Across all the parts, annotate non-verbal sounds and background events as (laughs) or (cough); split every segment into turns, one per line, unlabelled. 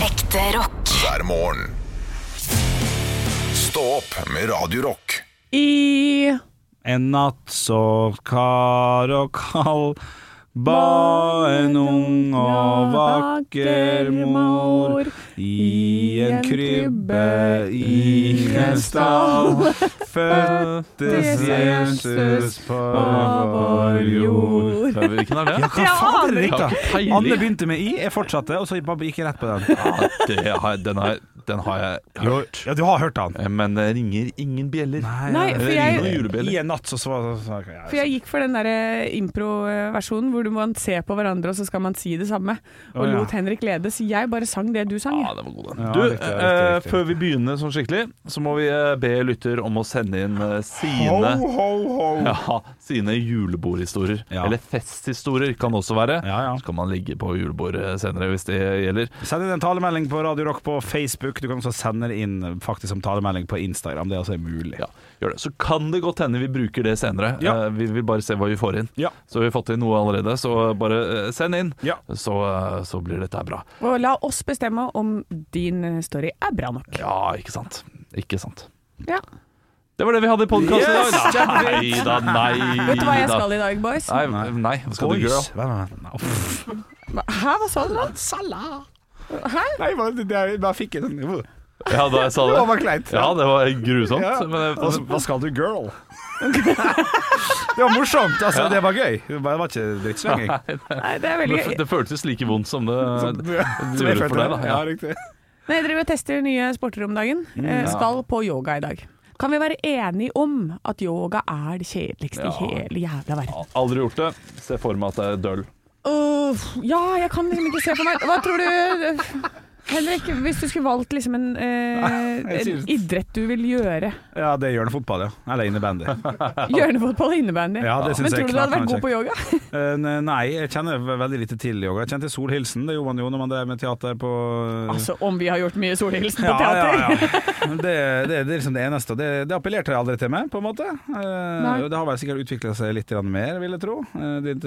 Ekte rock.
hver morgen. Stå opp med Radio Rock.
I en natt så kar og kall ba en ung og vakker mor i en krybbe i en stall (laughs) fødtes Jesus på vår jord.
Hvilken er det?
Ja, hva fader,
Jeg
Rikka?
har ikke peiling.
Anne begynte med I, jeg fortsatte, og så bare gikk jeg rett på den.
Ja, det har, jeg- den, har, jeg- den har jeg hørt.
Ja, du har hørt den.
Men det ringer ingen bjeller.
Nei,
Nei, for
Det ringer noen
jeg,
julebjeller.
I en natt så så, så, så
for jeg gikk for den derre impro-versjonen hvor du må se på hverandre og så skal man si det samme. Og
Å, ja.
lot Henrik lede, så jeg bare sang det du sang.
Ja,
jeg.
det var god, den.
Ja,
du,
riktig, riktig,
eh,
riktig.
før vi begynner sånn skikkelig, så må vi eh, be lytter om å sende inn eh, sine
Ho, ho, ho.
(laughs) ja, sine julebordhistorier.
Ja.
Eller festhistorier kan det også være.
Ja, ja.
Så kan man ligge på julebordet senere hvis det gjelder.
Send inn en talemelding på Radio Rock på Facebook. Du kan også sende det inn faktisk som talemelding på Instagram. Det er altså mulig.
Ja, gjør det. Så kan det godt hende vi bruker det senere.
Ja.
Eh, vi vil bare se hva vi får inn.
Ja.
Så vi har fått inn noe allerede, så bare eh, send inn.
Ja.
Så, eh, så blir dette bra.
Ah.
Og la oss bestemme om din eh, story er bra nok.
Ja, ikke sant. Ikke sant.
Ja.
Det var det vi hadde i podkasten
Yes,
i dag. Nei da, nei
Vet du hva jeg
da.
skal i dag, boys?
Nei, nei, hva skal du girl?
Boys. Hva- hva- hva- Uff.
Hæ, hva sa du da?
Nei, bare, det, det, bare fikk jeg sånn uh,
Ja, da jeg sa det.
Det var kleint.
Ja, Altså, det var grusomt.
Ja.
Men jeg,
hva, hva skal du, girl? (laughs) det var morsomt. Altså, det var gøy. Det var det var ikke drittslenging.
(laughs) Nei, det er veldig
det,
gøy.
det føltes like vondt som det
Som
gjorde for deg, da.
Ja,
Ja.
riktig.
Nei, jeg driver og tester nye sporter om dagen.
Mm,
Eh, Skal på yoga i dag. Kan vi være enige om at yoga er det kjedeligste
Ja.
i hele jævla verden?
Aldri gjort det. Se for meg at det er døll.
Uff, ja, jeg kan liksom ikke se på meg Hva tror du eh, Henrik, hvis du skulle valgt liksom en, eh,
Nei, jeg sier
en
det.
idrett du vil gjøre
Ja, det gjør det fotball, ja. Eller innebandy.
Hjørnefotball og innebandy
Ja, det
Men
synes jeg
tror du du hadde
knakende
vært god på yoga?
(laughs) Eh, ne- Nei, jeg kjenner ve- veldig lite til yoga. Jeg kjente Solhilsen, det gjorde man jo når man drev med teater på
Altså, om vi har gjort mye solhilsen på
Mm. Ja,
teater
ja, ja. Det, det, det er liksom det eneste, og det, det appellerte aldri til meg, på en måte. Eh,
Nei.
og det har vel sikkert utvikla seg litt grann mer, vil jeg tro, eh, ditt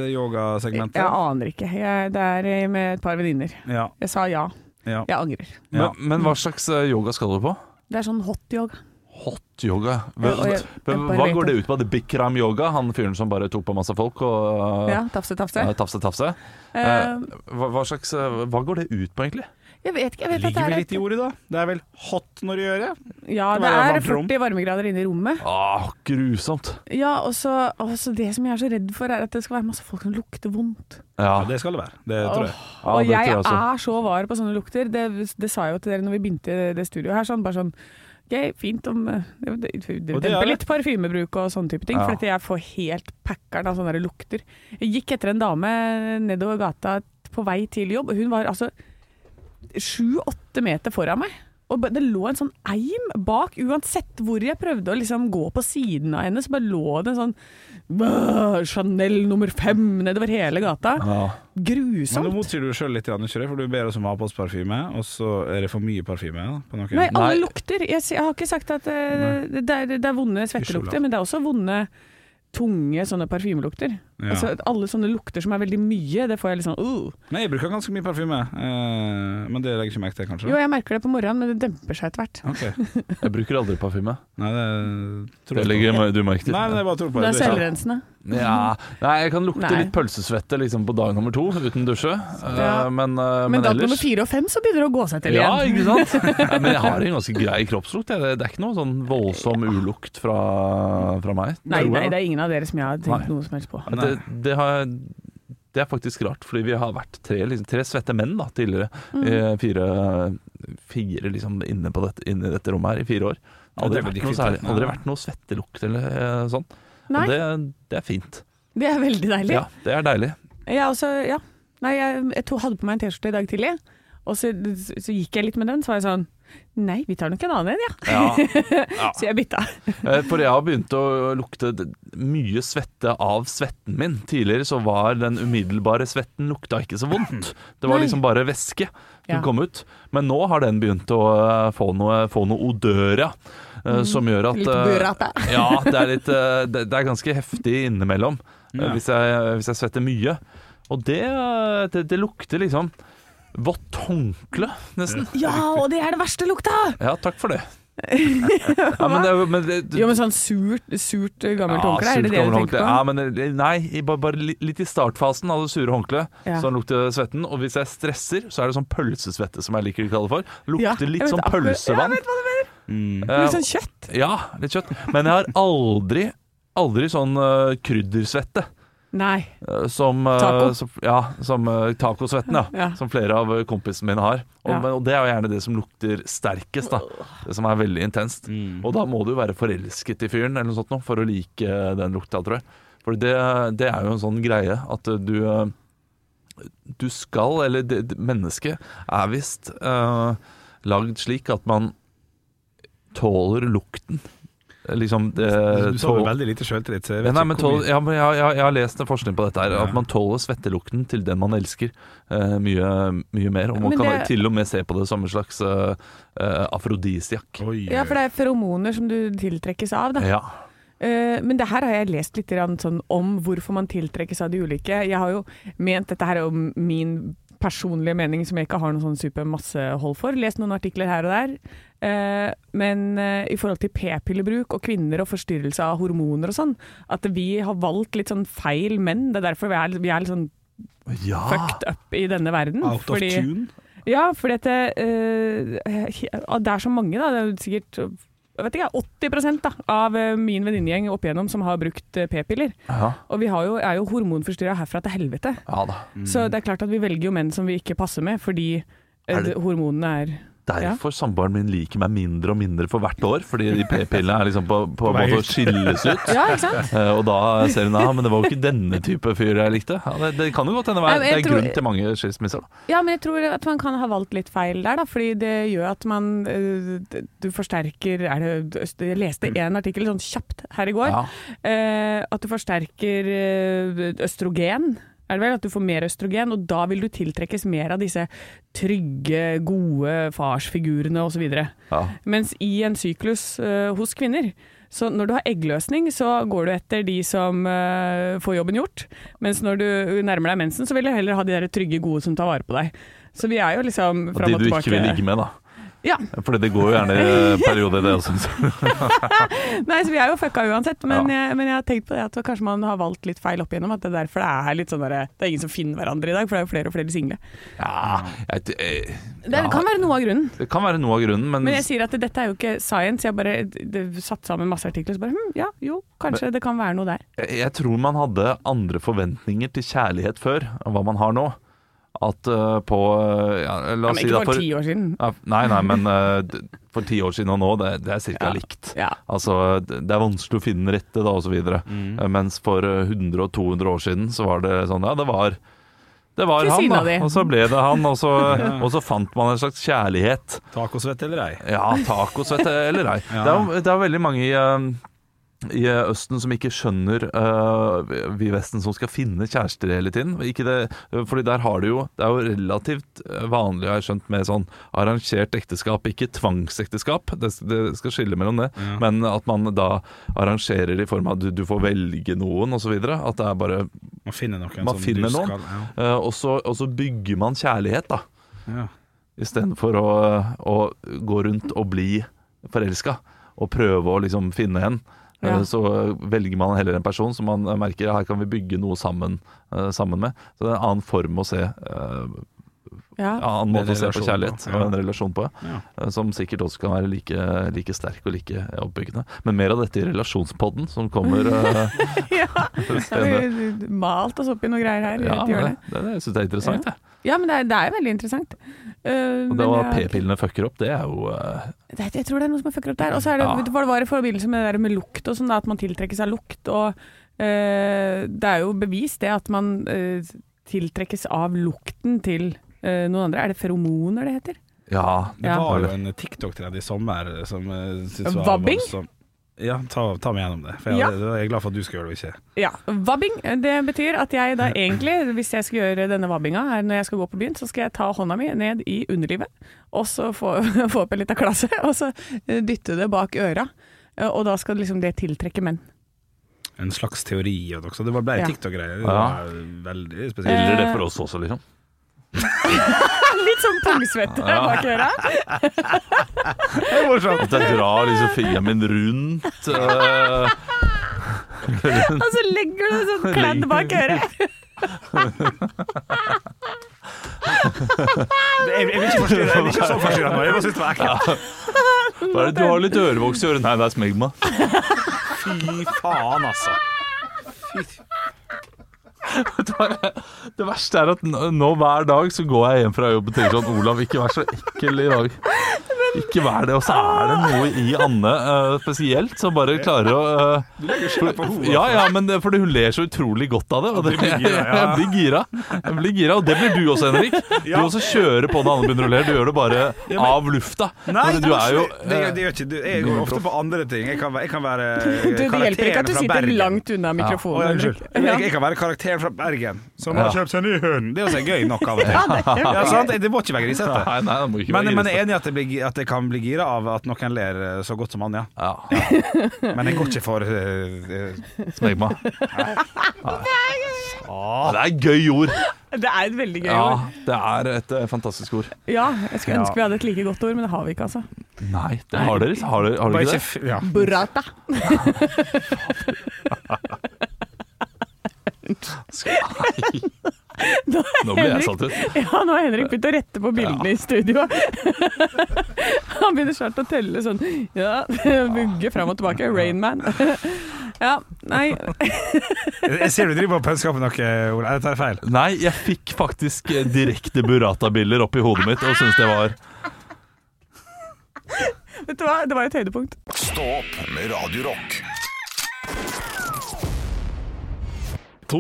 (laughs)
yogasegment.
Jeg aner ikke, jeg, det er eh, med et par venninner
Ja,
Jeg sa ja,
ja.
jeg angrer
Ja.
Men, men hva slags eh, yoga skal du på?
Det er sånn hot yoga
Hot yoga?
Ja, og
Hva,
jeg- jeg bare
hva
vet
går det
at-
ut på? Det er Bikram yoga, han fyren som bare tok på masse folk og
Ja, tafse, tafse
eh, tafse, tafse.
Eh,
Hva, hva, slags, eh, hva går det ut på, egentlig?
Jeg vet ikke, jeg vet at
Ligger
det
vi
er
litt i ordet, da? Det er vel hot når du gjør det?
et- Ja,
Det
det
var
er
varmt rom.
40 varmegrader inne i rommet
Ah, grusomt.
Ja, og så og så det som jeg er så redd for er at det skal være masse folk som lukter vondt
Ja,
Ja, det skal det være. Det tror jeg.
ja,
og
det
jeg,
tror jeg også.
er så var på sånne lukter. Det, det sa jeg jo til dere når vi begynte det studioet her. Sånn, bare sånn OK, fint om eh, Det, det, det,
Og det er
demper
det.
litt parfymebruk og sånne type ting.
Ja.
For at jeg får helt packeren av sånne der lukter. Jeg gikk etter en dame nedover gata på vei til jobb. Hun var altså sju-åtte meter foran meg. Og ba- det lå en sånn eim bak, uansett hvor jeg prøvde å liksom gå på siden av henne, så bare lå det en sånn «Bæ, Chanel nummer fem nedover hele gata.
Ja.
Men nå
Grusomt.
motsier du sjøl litt, grann, ikke det? for du ber oss om å ha på oss parfyme, og så er det for mye parfyme da, på noen.
Nei, ah. alle
Nei.
lukter. Jeg, sier- jeg har ikke sagt at eh, det, det, er, det er vonde
Ikke
svettelukter,
Olav.
men det er også vonde tunge sånne parfymelukter.
Ja.
Altså, at alle sånne lukter som er veldig mye, det får jeg litt sånn uh.
Nei, jeg bruker ganske mye parfyme, eh, men det legger jeg ikke merke til, kanskje?
Jo, jeg merker det på morgenen, men det demper seg etter hvert.
Ok.
Jeg bruker aldri parfyme.
Nei, det tror
Det
jeg
legger
ikke.
jeg- du merke til.
Nei, det er bare tror på
Det
det.
er selvrensende.
Ja, nei, jeg kan lukte
Nei.
litt pølsesvette liksom, på dag nummer to uten dusje. Eh,
Ja.
Men, eh,
Men
men
dag
ellers
nummer fire og fem så begynner det å gå seg til
Ja,
igjen.
ikke sant? (laughs) Nei, men jeg har en ganske grei kroppslukt. jeg. Det det er ikke noe sånn voldsom ulukt fra, fra meg.
Nei,
tror
nei,
jeg,
det er ingen av dere som jeg har tenkt
Nei.
noe som helst på.
da. det, det, har, det er faktisk rart, fordi vi har vært tre, liksom, tre svette menn da, tidligere.
Mm.
Eh, Fire, fire liksom, inne, på dette, inne i dette rommet her i fire år.
Ja,
Aldri,
det blir
vært, noe
kvitt,
særlig, aldri
nei.
vært noe svettelukt eller eh, sånn.
Nei,
Og det, det er fint.
det er veldig deilig.
Ja, det er deilig.
Jeg, også, ja. Nei, jeg, jeg to, hadde på meg en T-skjorte i dag tidlig, og så, så gikk jeg litt med den. Så var jeg sånn Nei, vi tar nok en annen en, ja. (laughs)
Ja.
Så jeg bytta.
Eh, For jeg har begynt å lukte d- mye svette av svetten min. Tidligere så var den umiddelbare svetten lukta ikke så vondt. Det var
Mm. Nei.
liksom bare væske som
Ja.
kom ut. Men nå har den begynt å eh, få noe, få noe odør, ja. Eh, Som gjør at
Mm. Litt
eh,
burrata.
(laughs) ja, det er, litt, eh, det, det er ganske heftig innimellom eh,
Ja.
hvis, jeg, hvis jeg svetter mye. Og det, eh, det, det lukter liksom Vått håndkle, nesten.
Ja, og det er det verste lukta!
Ja, takk for det. (laughs) Ja, men det, er jo- men det
Jo, men sånn surt, surt eh, gammelt
Ja,
håndkle, er det
surt
det du
gammelt
tenker
håndkle.
på?
Ja, men det- nei, i- bare, bare li- litt i startfasen av det sure håndkleet,
Ja.
så han lukter svetten. Og hvis jeg stresser, så er det sånn pølsesvette, som jeg liker å kalle det for.
Ja,
Lukter
jeg
litt
vet
sånn
akkurat- Ja, jeg
pølsevann.
vet hva du mener.
Eh,
Litt sånn kjøtt.
ja, litt kjøtt. Men jeg har aldri, aldri sånn eh, kryddersvette.
Nei.
eh, Som, eh,
Taco.
som, ja, som eh, tacosvetten, ja,
Ja.
som flere av eh, kompisene mine har. Og,
Ja.
men- og det er jo gjerne det som lukter sterkest, da. Det som er veldig intenst.
Mm.
Og da må du jo være forelsket i fyren eller noe sånt nå, for å like eh, den lukta, tror jeg. For det, det er jo en sånn greie at eh, du eh, Du skal, eller det, det, mennesket er visst eh, lagd slik at man tåler lukten. Eh, Liksom eh,
Du sover
tål-
veldig lite sjøltillit. så jeg
ja,
vet
nei,
ikke
men
hvor
tål,
mye-
ja, men jeg, jeg, jeg har lest en forskning på dette her At
Ja.
man tåler svettelukten til den man elsker eh, mye, mye mer Og man
Men
kan
det-
til og med se på det som en slags eh, eh, afrodisiak
Oi,
Ja, for det er feromoner som du tiltrekkes av, da.
Ja,
Eh, men det her har jeg lest litt grann sånn om hvorfor man tiltrekkes av de ulike. Jeg har jo ment dette her er jo min personlige mening som jeg ikke har noe sånn supermasse hold for. Lest noen artikler her og der. Eh, men eh, i forhold til p-pillebruk og kvinner og forstyrrelse av hormoner og sånn, at vi har valgt litt sånn feil menn. Det er derfor vi er, vi er litt sånn
ja.
fucked up i denne verden.
Out of
fordi-
tune?
ja, fordi at det, eh, det er så mange, da. Det er jo sikkert jeg vet ikke, 80 da, av eh, min venninnegjeng opp igjennom som har brukt eh, p-piller.
Ja,
Og vi har jo, er jo hormonforstyrra herfra til helvete.
ja da
Så det er klart at vi velger jo menn som vi ikke passer med, fordi eh,
Er det-
hormonene er
Derfor samboeren min liker meg mindre og mindre for hvert år Fordi de p-pillene er liksom på, på,
På vei
måte
ut.
å skilles ut
(laughs) Ja, ikke
(laughs)
sant?
Eh, og da ser hun, ja, men det var jo ikke denne type fyr jeg likte ja, det, det kan jo godt hende
Nei,
være-
men
Det er
jeg tror-
grunn til mange skilsmisser da.
Ja, men jeg tror at man kan ha valgt litt feil der, da. Fordi det gjør at man eh, d- Du forsterker er det, Jeg leste en artikkel sånn kjapt her i går.
Ja.
eh, at du forsterker eh, østrogen. Er det vel at du får mer østrogen, og da vil du tiltrekkes mer av disse trygge, gode farsfigurene osv.
Ja.
Mens i en syklus eh, hos kvinner så når du har eggløsning, så går du etter de som eh, får jobben gjort. Mens når du nærmer deg mensen, så vil du heller ha de der trygge, gode som tar vare på deg. Så vi er jo liksom
Og de
fram og
du
tilbake.
ikke vil ligge med da
Ja.
Fordi det går jo gjerne i
(laughs)
perioder det også
Nei, så vi er jo fucka uansett, men,
Ja.
jeg, men jeg har tenkt på det at kanskje man har valgt litt feil opp igjennom. At det er derfor det er litt sånn derre Det er ingen som finner hverandre i dag, for det er jo flere og flere single.
Ja, jeg, jeg,
Det
ja, Mm.
kan være noe av grunnen.
det kan være noe av grunnen, men,
Men jeg sier at dette er jo ikke science. Jeg bare det, satt sammen masse artikler, så bare hm, ja, jo, kanskje det kan være noe der.
jeg, jeg tror man hadde andre forventninger til kjærlighet før enn hva man har nå. At eh, på eh, ja, La
Ja, men
oss si
ikke
da
for ti år siden.
Ja, Nei, nei, men eh, d- for ti år siden og nå, det, det er cirka
Ja.
likt.
Ja.
Altså, det det er vanskelig å finne den rette, da, osv. Mm. Mens for eh, 100 og 200 år siden så var det sånn Ja, det var det var han,
Kusina
da.
di.
Og så ble det han, og så, og så fant man en slags kjærlighet.
Tacosvett eller ei?
Ja, tacosvett eller ei. Det, er, jo- det er veldig mange i, eh, i Østen som ikke skjønner eh, vi i Vesten som skal finne kjærester hele tiden. Ikke det, uh, fordi der har du jo Det er jo relativt uh, vanlig, har jeg skjønt, med sånn arrangert ekteskap, ikke tvangsekteskap. Det, det skal skille mellom det. Men at man da arrangerer i form av at du, du får velge noen, osv. At det er bare
Man finner noen
Man
som
finner
du
noen.
skal ja.
eh, og, så, og så bygger man kjærlighet, da.
Ja.
Istedenfor å, å gå rundt og bli forelska og prøve å liksom finne en.
Ja.
Så velger man heller en person som man merker her kan vi bygge noe sammen, eh, sammen med. Så det er en annen form å se eh,
Ja.
En annen
Det er
måte å se på
relasjon
kjærlighet
på, ja.
og en relasjon på.
Ja.
eh, Som sikkert også kan være like, like sterk og like oppbyggende. Men mer av dette i relasjonspodden som kommer. eh,
(laughs) ja. Har
senere.
vi malt oss opp i noe greier her.
Ja,
Ja,
men det, det, det syns jeg er interessant. jeg.
ja men det er, det er veldig interessant. Eh,
Og
men
det var
jeg-
p-pillene fucker opp, det er jo eh,
Det, jeg tror det er noe som er fucker opp der. Og så er det,
Ja.
vet du hva det var i forbindelse med det der med lukt og sånn, da, at man tiltrekkes av lukt. Og eh, det er jo bevist det at man eh, tiltrekkes av lukten til eh, noen andre. Er det feromoner det heter?
Ja,
Det
Ja.
var jo en TikTok-trend i sommer som jeg syntes var
Vabbing?
voldsom. Ja, ta, ta meg gjennom det. For jeg,
Ja.
jeg er glad for at du skal gjøre det, og ikke
Ja. Vabbing. Det betyr at jeg da egentlig, hvis jeg skal gjøre denne vabbinga her når jeg skal gå på byen, så skal jeg ta hånda mi ned i underlivet, og så få, (laughs) få opp en liten klasse, og så eh, dytte det bak øra. Eh, Og da skal liksom det tiltrekke menn.
en slags teori. Og noe, så det var- ble
Ja. Eh,
TikTok-greier. Det
Ja.
var veldig spesielt.
Gjelder det for oss også, liksom?
ut som pungsvette sånn bak øra.
Det er morsomt.
At jeg drar liksom fingeren min rundt. eh,
Og så legger du
(laughs)
sånn kladd bak øret.
Jeg, jeg vil ikke forstyrre Jeg vil ikke så forstyrre nå. Jeg bare synes det var ekkelt.
hva er det, du har litt ørevoks i øret. Nei, det er smegma.
Fy faen, altså.
Det verste er at n- nå hver dag så går jeg hjem fra jobb og tenker sånn Olav, ikke vær så ekkel i dag. Ikke vær det. Og så er det noe i Anne eh, spesielt som bare klarer å eh,
Du legger skylda på hodet.
Ja, ja, men det, fordi hun ler så utrolig godt av det. Og det,
blir gira, ja.
jeg blir gira. Jeg blir gira, Og det blir du også, Henrik. Du
Ja.
også kjører på når Anne begynner å le. Du gjør det bare av lufta.
Nei,
Men du er jo
det,
eh,
det gjør ikke du. Jeg går ofte på andre ting. Jeg kan, være- jeg kan være
(laughs)
eh,
Du, det hjelper ikke at du
karakteren fra
sitter
Bergen.
langt unna
Å,
mikrofonen.
ja,
Henrik.
unnskyld. Jeg, jeg
Ja.
kan være karakteren fra Bergen som
Ja.
har kjøpt seg ny hund. Det er også gøy nok
(laughs)
av og til. Ja, sant? Det må ikke være grisete.
Nei, nei, det må ikke
Men,
være
men jeg er
grisete.
enig i at jeg, blir, at jeg kan bli gira av at noen ler eh, så godt som Anja.
Ja,
Men jeg går ikke for eh, eh,
smegma. Ja, Det er gøy ord.
Det er et veldig gøy
Ja,
ord.
det er et eh, fantastisk ord.
Ja, jeg skulle
Ja.
ønske vi hadde et like godt ord, men det har vi ikke, altså.
Nei, det har dere. Har dere, har
bare
dere
ikke
ikke det?
f- ja.
(laughs) Burrata.
Nå ble jeg
Henrik.
satt ut.
(laughs) Ja, nå har Henrik begynt å rette på bildene i studio. (laughs) Han begynner snart å telle sånn Ja, (laughs) vugge fram og tilbake. Rainman. (laughs) Ja, nei
Jeg jeg ser du driver og pønsker på noe, Ola. Jeg tar feil.
Nei, jeg fikk faktisk eh, direkte burrata-biller opp i hodet mitt og syntes det var
Vet du hva, det var et høydepunkt.
Stå opp med Radio Rock.
To,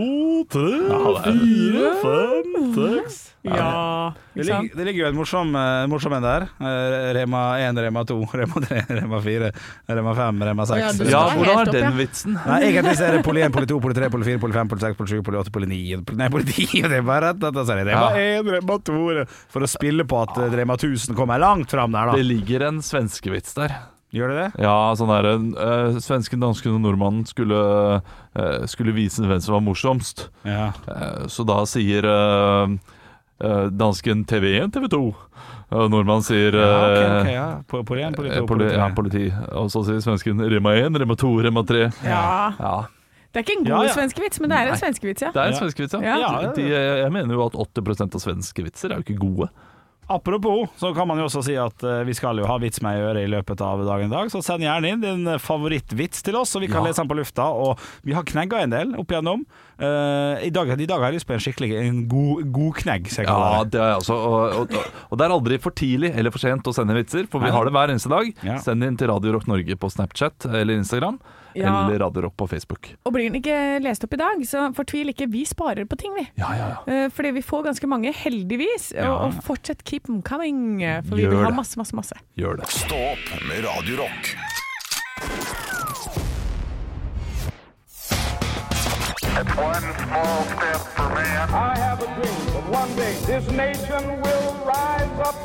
tre, fire, fem, seks
Ja,
Det
ikke sant?
ligger, det ligger jo en morsom, eh, morsom en der. Eh, Rema 1, Rema 2, (laughs) Rema 3, Rema 4, Rema 5, Rema 6.
Ja, du
Ja,
skal
hvor
helt
har
opp,
den
ja.
vitsen?
Nei, egentlig så er det poli 1, poli 2, poli 3, poli 4, poli 5, poli 6, poli 7, poli 8, poli 9 poli- Nei, poli 10, (laughs) og det er bare rett etter så er det Rema
Ja.
1, Rema 2 Rema- For å spille på at eh, Rema 1000 kommer langt fram der,
Det
da.
ligger en svenskevits der.
Gjør det det?
Ja, sånn der eh, Svensken, dansken og nordmannen skulle, eh, skulle vise hvem som var morsomst.
Ja.
Eh, så da sier eh, eh, dansken TV1, TV2. Og nordmannen sier
Ja, ok, ok,
eh,
ja. Po- Poli 1, poli 2,
eh,
poli
poli,
3.
ja, politi. Og så sier svensken Rema 1, Rema 2, Rema 3.
Ja.
Ja,
Det er ikke en god
Ja, ja.
svenskevits, men det er en
Nei.
svenskevits, ja.
Det er en
Ja.
svenskevits, ja.
Ja.
De, de, jeg mener jo at 80 av svenske vitser er jo ikke gode.
Apropos, så kan man jo også si at eh, vi skal jo ha vits med i øret i løpet av dagen i dag, så send gjerne inn din eh, favorittvits til oss, så vi kan
Ja.
lese den på lufta. Og vi har knegga en del opp igjennom. Eh, I dag, I dag har jeg lyst på en skikkelig en god, god knegg, som jeg kaller
Ja,
det.
det er altså, og, og, og det er aldri for tidlig eller for sent å sende vitser, for vi
Nei.
har det hver eneste dag.
Ja.
Send inn til Radio Rock Norge på Snapchat eller Instagram,
Ja.
eller Radio Rock på Facebook.
Og blir den ikke lest opp i dag, så fortvil ikke. Vi sparer på ting, vi.
Ja, ja, ja.
Eh, Fordi vi får ganske mange, heldigvis. Og, og fortsett keep them coming, for vi
Gjør
vil ha
det.
masse, masse, masse.
Gjør det.
Stå opp med Radio Rock.
One small step for man.
I have a dream that one day this nation will rise up.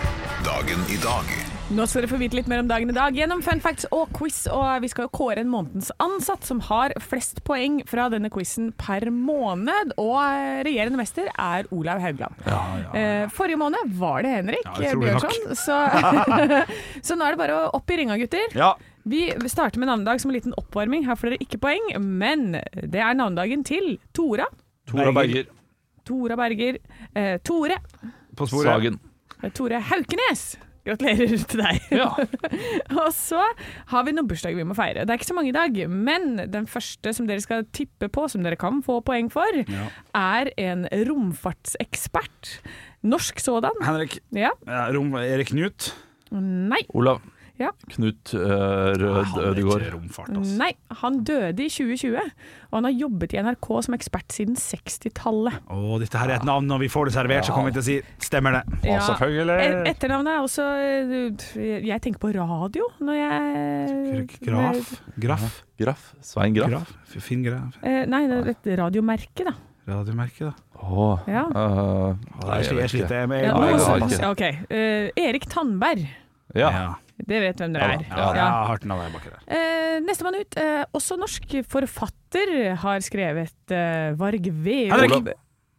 Dagen i dag.
Nå skal dere få vite litt mer om dagen i dag gjennom fun facts og quiz. Og vi skal jo kåre en månedens ansatt som har flest poeng fra denne quizen per måned. Og eh, regjerende mester er Olav Haugland. Eh, Forrige måned var det Henrik
Ja, utrolig
Bjørnson. Så, (laughs) så nå er det bare å opp i ringa, gutter.
Ja.
Vi starter med navnedag som en liten oppvarming. Her får dere ikke poeng, men det er navnedagen til Tora.
Tora
Berger.
Berger,
Tora Berger. Eh, Tore.
På sporet.
Sagen.
Eh, Tore Haukenes. Gratulerer til deg.
Ja.
(laughs) Og så har vi noen bursdager vi må feire. Det er ikke så mange i dag, men den første som dere skal tippe på, som dere kan få poeng for, er en romfartsekspert. Norsk sådan.
Henrik
Ja.
ja, Rom, Erik Knut.
Nei.
Olav.
Ja.
Knut eh, Rød
Ah, Han er ikke
Ødegård.
romfart, altså.
Nei. Han døde i 2020, og han har jobbet i NRK som ekspert siden 60-tallet.
Å, dette her er et navn, når vi får det servert, så kommer vi til å si 'stemmer det'.
Ja. Et-
selvfølgelig.
Etternavnet er også eh, Jeg tenker på radio når jeg
Graf. Graf.
Graff. Svein Graff.
Graf. Finn Graf.
Eh, Nei, det er et radiomerke, da.
Radiomerke, da.
Åh,
Ja.
eh, nei,
Jeg,
jeg
jeg,
vet ikke.
sliter. Jeg,
Ja,
nei,
nå-
jeg har ikke.
Ok. Eh, Erik Tandberg.
Ja.
Ja.
Det vet hvem dere er.
Ja,
Ja,
Ja.
jeg har den av deg baki der.
Eh, Nestemann ut. Eh, også norsk forfatter har skrevet eh, Varg Veum.
Henrik.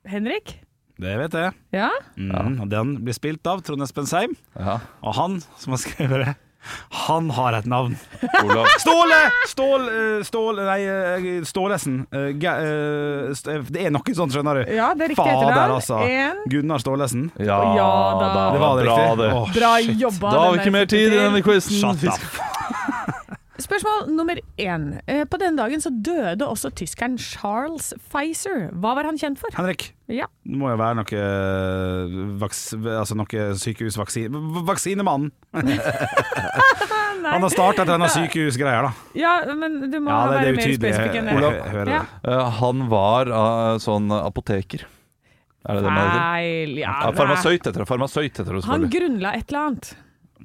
Henrik?
Det vet jeg.
Ja?
Mm, og Den blir spilt av Trond Espen Seim,
Ja.
og han som har skrevet det, han har et navn. (laughs)
Olav.
Ståle! Stål... eh, Stål... Nei, eh, Stålesen. Eh, Ga- eh, St- Det er noe sånt, skjønner du.
Ja, det er riktig
Fader,
etternavn.
altså.
En-
Gunnar Stålesen.
Ja,
Ja da.
da.
Det var det
Bra
riktig.
det.
Åh,
Bra
shit.
jobba.
Da har vi
den
ikke
der
mer tid i denne quizen.
Shut up.
Spørsmål nummer én. Eh, På denne dagen så døde også tyskeren Charles Pfizer. Hva var han kjent for?
Henrik,
Ja.
det må jo være noe, vaks, altså noe sykehusvaksine... Vaksinemannen.
Ah,
Han har startet denne sykehusgreia, da.
ja, men du må
Ja, det, det
være
er
mer
utydelig.
spesifikk enn
Jeg-
det.
jeg- jeg hører det.
Ja.
Eh, han var eh, sånn apoteker. Er det det man heter?
Feil, ja.
Ja, farmasøyt heter det. Farmasøyt heter
Han
det selvfølgelig.
grunnla et eller annet.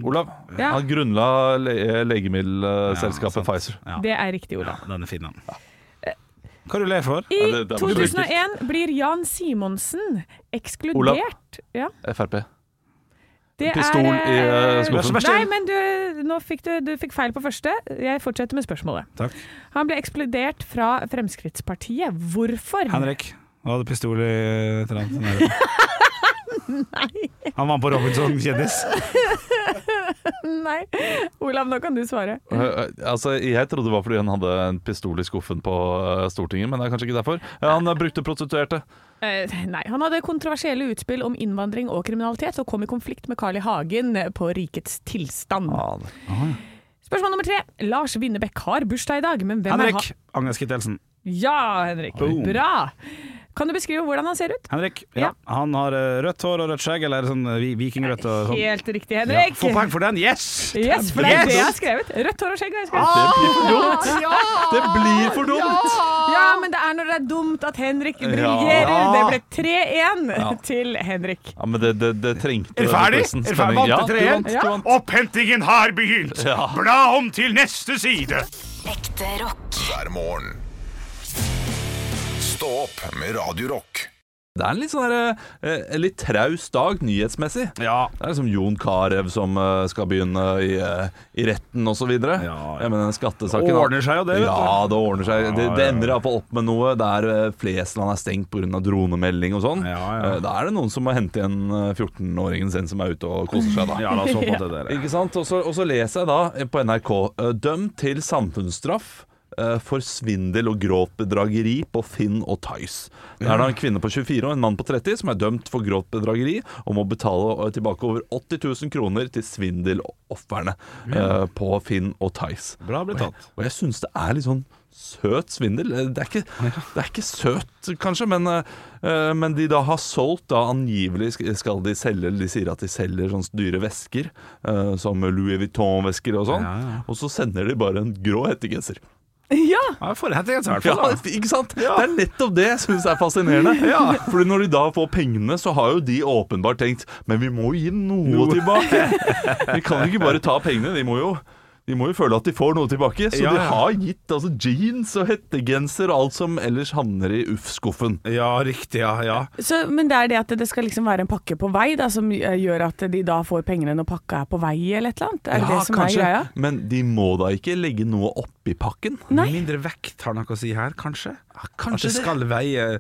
Olav.
Ja.
Han grunnla le legemiddelselskapet
sant.
Pfizer.
Ja.
Det er riktig, Ola.
Ja, den er fin, den. Hva er du ler for?
I
Ja, det- det var
2001 blir Jan Simonsen ekskludert.
Ola.
Ja,
Frp.
det
Pistol
er, eh,
i, eh, skuffen.
Vær så
Nei,
snill.
men du, nå fikk du, du fikk feil på første. Jeg fortsetter med spørsmålet.
Takk.
Han ble ekskludert fra Fremskrittspartiet. Hvorfor?
Henrik. Han hadde pistol i eh, et eller annet. Nei. Han var på Robinson kjendis.
(laughs) Nei. Olav, nå kan du svare.
Eh, eh, altså, jeg trodde det var fordi han hadde en pistol i skuffen på eh, Stortinget, men det er kanskje ikke derfor. Eh, han eh, brukte prostituerte.
Eh, nei. Han hadde kontroversielle utspill om innvandring og kriminalitet, og kom i konflikt med Carl I. Hagen eh, på Rikets tilstand. Spørsmål nummer tre. Lars Winnebekk har bursdag i dag, men hvem er
Henrik.
han?
Agnes Kittelsen.
Ja, Henrik.
Boom.
Bra! Kan du beskrive hvordan han ser ut?
Henrik. Ja.
Ja.
Han har eh, rødt hår og rødt skjegg, eller sånn eh, vi- vikingrødt og sånn.
Helt riktig,
Ja.
Henrik.
Få poeng for den! Yes!
Yes, for det er det jeg har
Yes! Ah,
skrevet. Rødt hår og skjegg har jeg skrevet.
Det blir for dumt! Det blir for dumt!
Ja, men det er når det er dumt at Henrik briljerer. Det
Ja.
ble 3-1 til Henrik.
Ja, men det, det, det trengte
Er du ferdig?
quizen.
Er du ferdig?
Spenning.
Vant til
Ja, du
3-1?
vant, du vant.
Opphentingen har begynt!
Ja.
Bla om til neste side!
Ekte rock.
Hver morgen. Stå opp med Radio Rock.
Det er en litt sånn der, eh, en litt traus dag nyhetsmessig.
Ja.
Det er liksom Jon Carew som eh, skal begynne i, eh, i retten osv. Ja,
Ja, ja.
Men den skattesaken
Ordner seg jo det, vet du.
Ja, det ordner seg. Det, det
ja, ja.
ender iallfall opp med noe der eh, Flesland er stengt pga. dronemelding og sånn.
Ja, ja.
Eh, Da er det noen som må hente igjen eh, 14-åringen sin som er ute og koser seg, da.
Ja, la oss håpe at det der.
Ikke sant? Og så, og så leser jeg da eh, på NRK eh, Dømt til samfunnsstraff eh, for svindel og grovt bedrageri på Finn og Tice. Det er da en kvinne på 24 og en mann på 30 som er dømt for grovt bedrageri og må betale eh, tilbake over 80 000 kroner til svindelofrene eh, på Finn og Tice.
Bra ble tatt.
Og jeg syns det er litt sånn søt svindel. Eh, Det er ikke, det er ikke søt, kanskje, men, eh, men de da har solgt da angivelig sk- skal de selge De sier at de selger sånne dyre vesker, eh, som Louis Vuitton-vesker og sånn.
Ja, ja.
Og så sender de bare en grå hettegenser.
Ja,
Ja, forretning, i hvert
Ja,
fall. da.
ikke sant? Det er nettopp det jeg syns er fascinerende. Fordi når de da får pengene, så har jo de åpenbart tenkt Men vi må jo gi noe, tilbake. (laughs) Vi kan jo ikke bare ta pengene. De må jo de må jo føle at de får noe tilbake, så
Ja,
de
ja.
har gitt altså, jeans og hettegenser og alt som ellers havner i UFF-skuffen.
Ja, riktig, ja. ja.
så, Men det er det at det skal liksom være en pakke på vei da, som eh, gjør at de da får pengene når pakka er på vei eller et eller annet? Er det det som er greia?
Men de må da ikke legge noe oppi pakken?
Nei.
Mindre vekt har noe å si her, kanskje? At
kanskje
det skal veie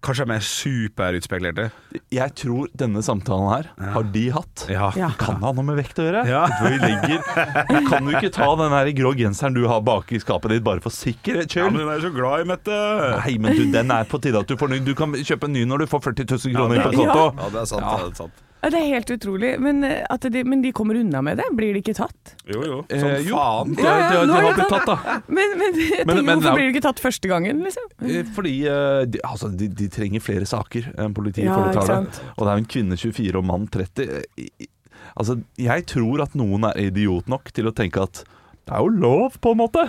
Kanskje de er superutspekulerte.
Jeg tror denne samtalen her har de hatt.
Ja.
Ja.
Kan det ha noe med vekt å gjøre?
Ja.
Hvor vi legger Kan du ikke ta den her grå genseren du har bak i skapet ditt, bare for sikkerhets
Ja,
skyld?
men hun er jo så glad i Mette.
Nei, men du, den er på tide at du får ny. Du kan kjøpe en ny når du får 40 000 kroner inn på konto.
Ja, det er sant.
Ja.
Det er sant.
Ja, Det er helt utrolig. Men, eh, at de, men de kommer unna med det? Blir de ikke tatt?
Jo, jo.
Eh,
Som
jo,
faen.
Det,
Ja,
det,
ja,
det,
nå er
har
det
blitt
tatt.
tatt, da.
Men, (laughs) men, jeg
Men-
tenker,
men-
hvorfor blir de ikke tatt første gangen, liksom?
Eh, Fordi eh, de, altså, de, de trenger flere saker enn politiet
Ja,
får
ikke
betale.
sant.
Og det er jo en kvinne 24 og mann 30. Eh, i- i- Altså, jeg tror at noen er idiot nok til å tenke at det er jo lov, på en måte.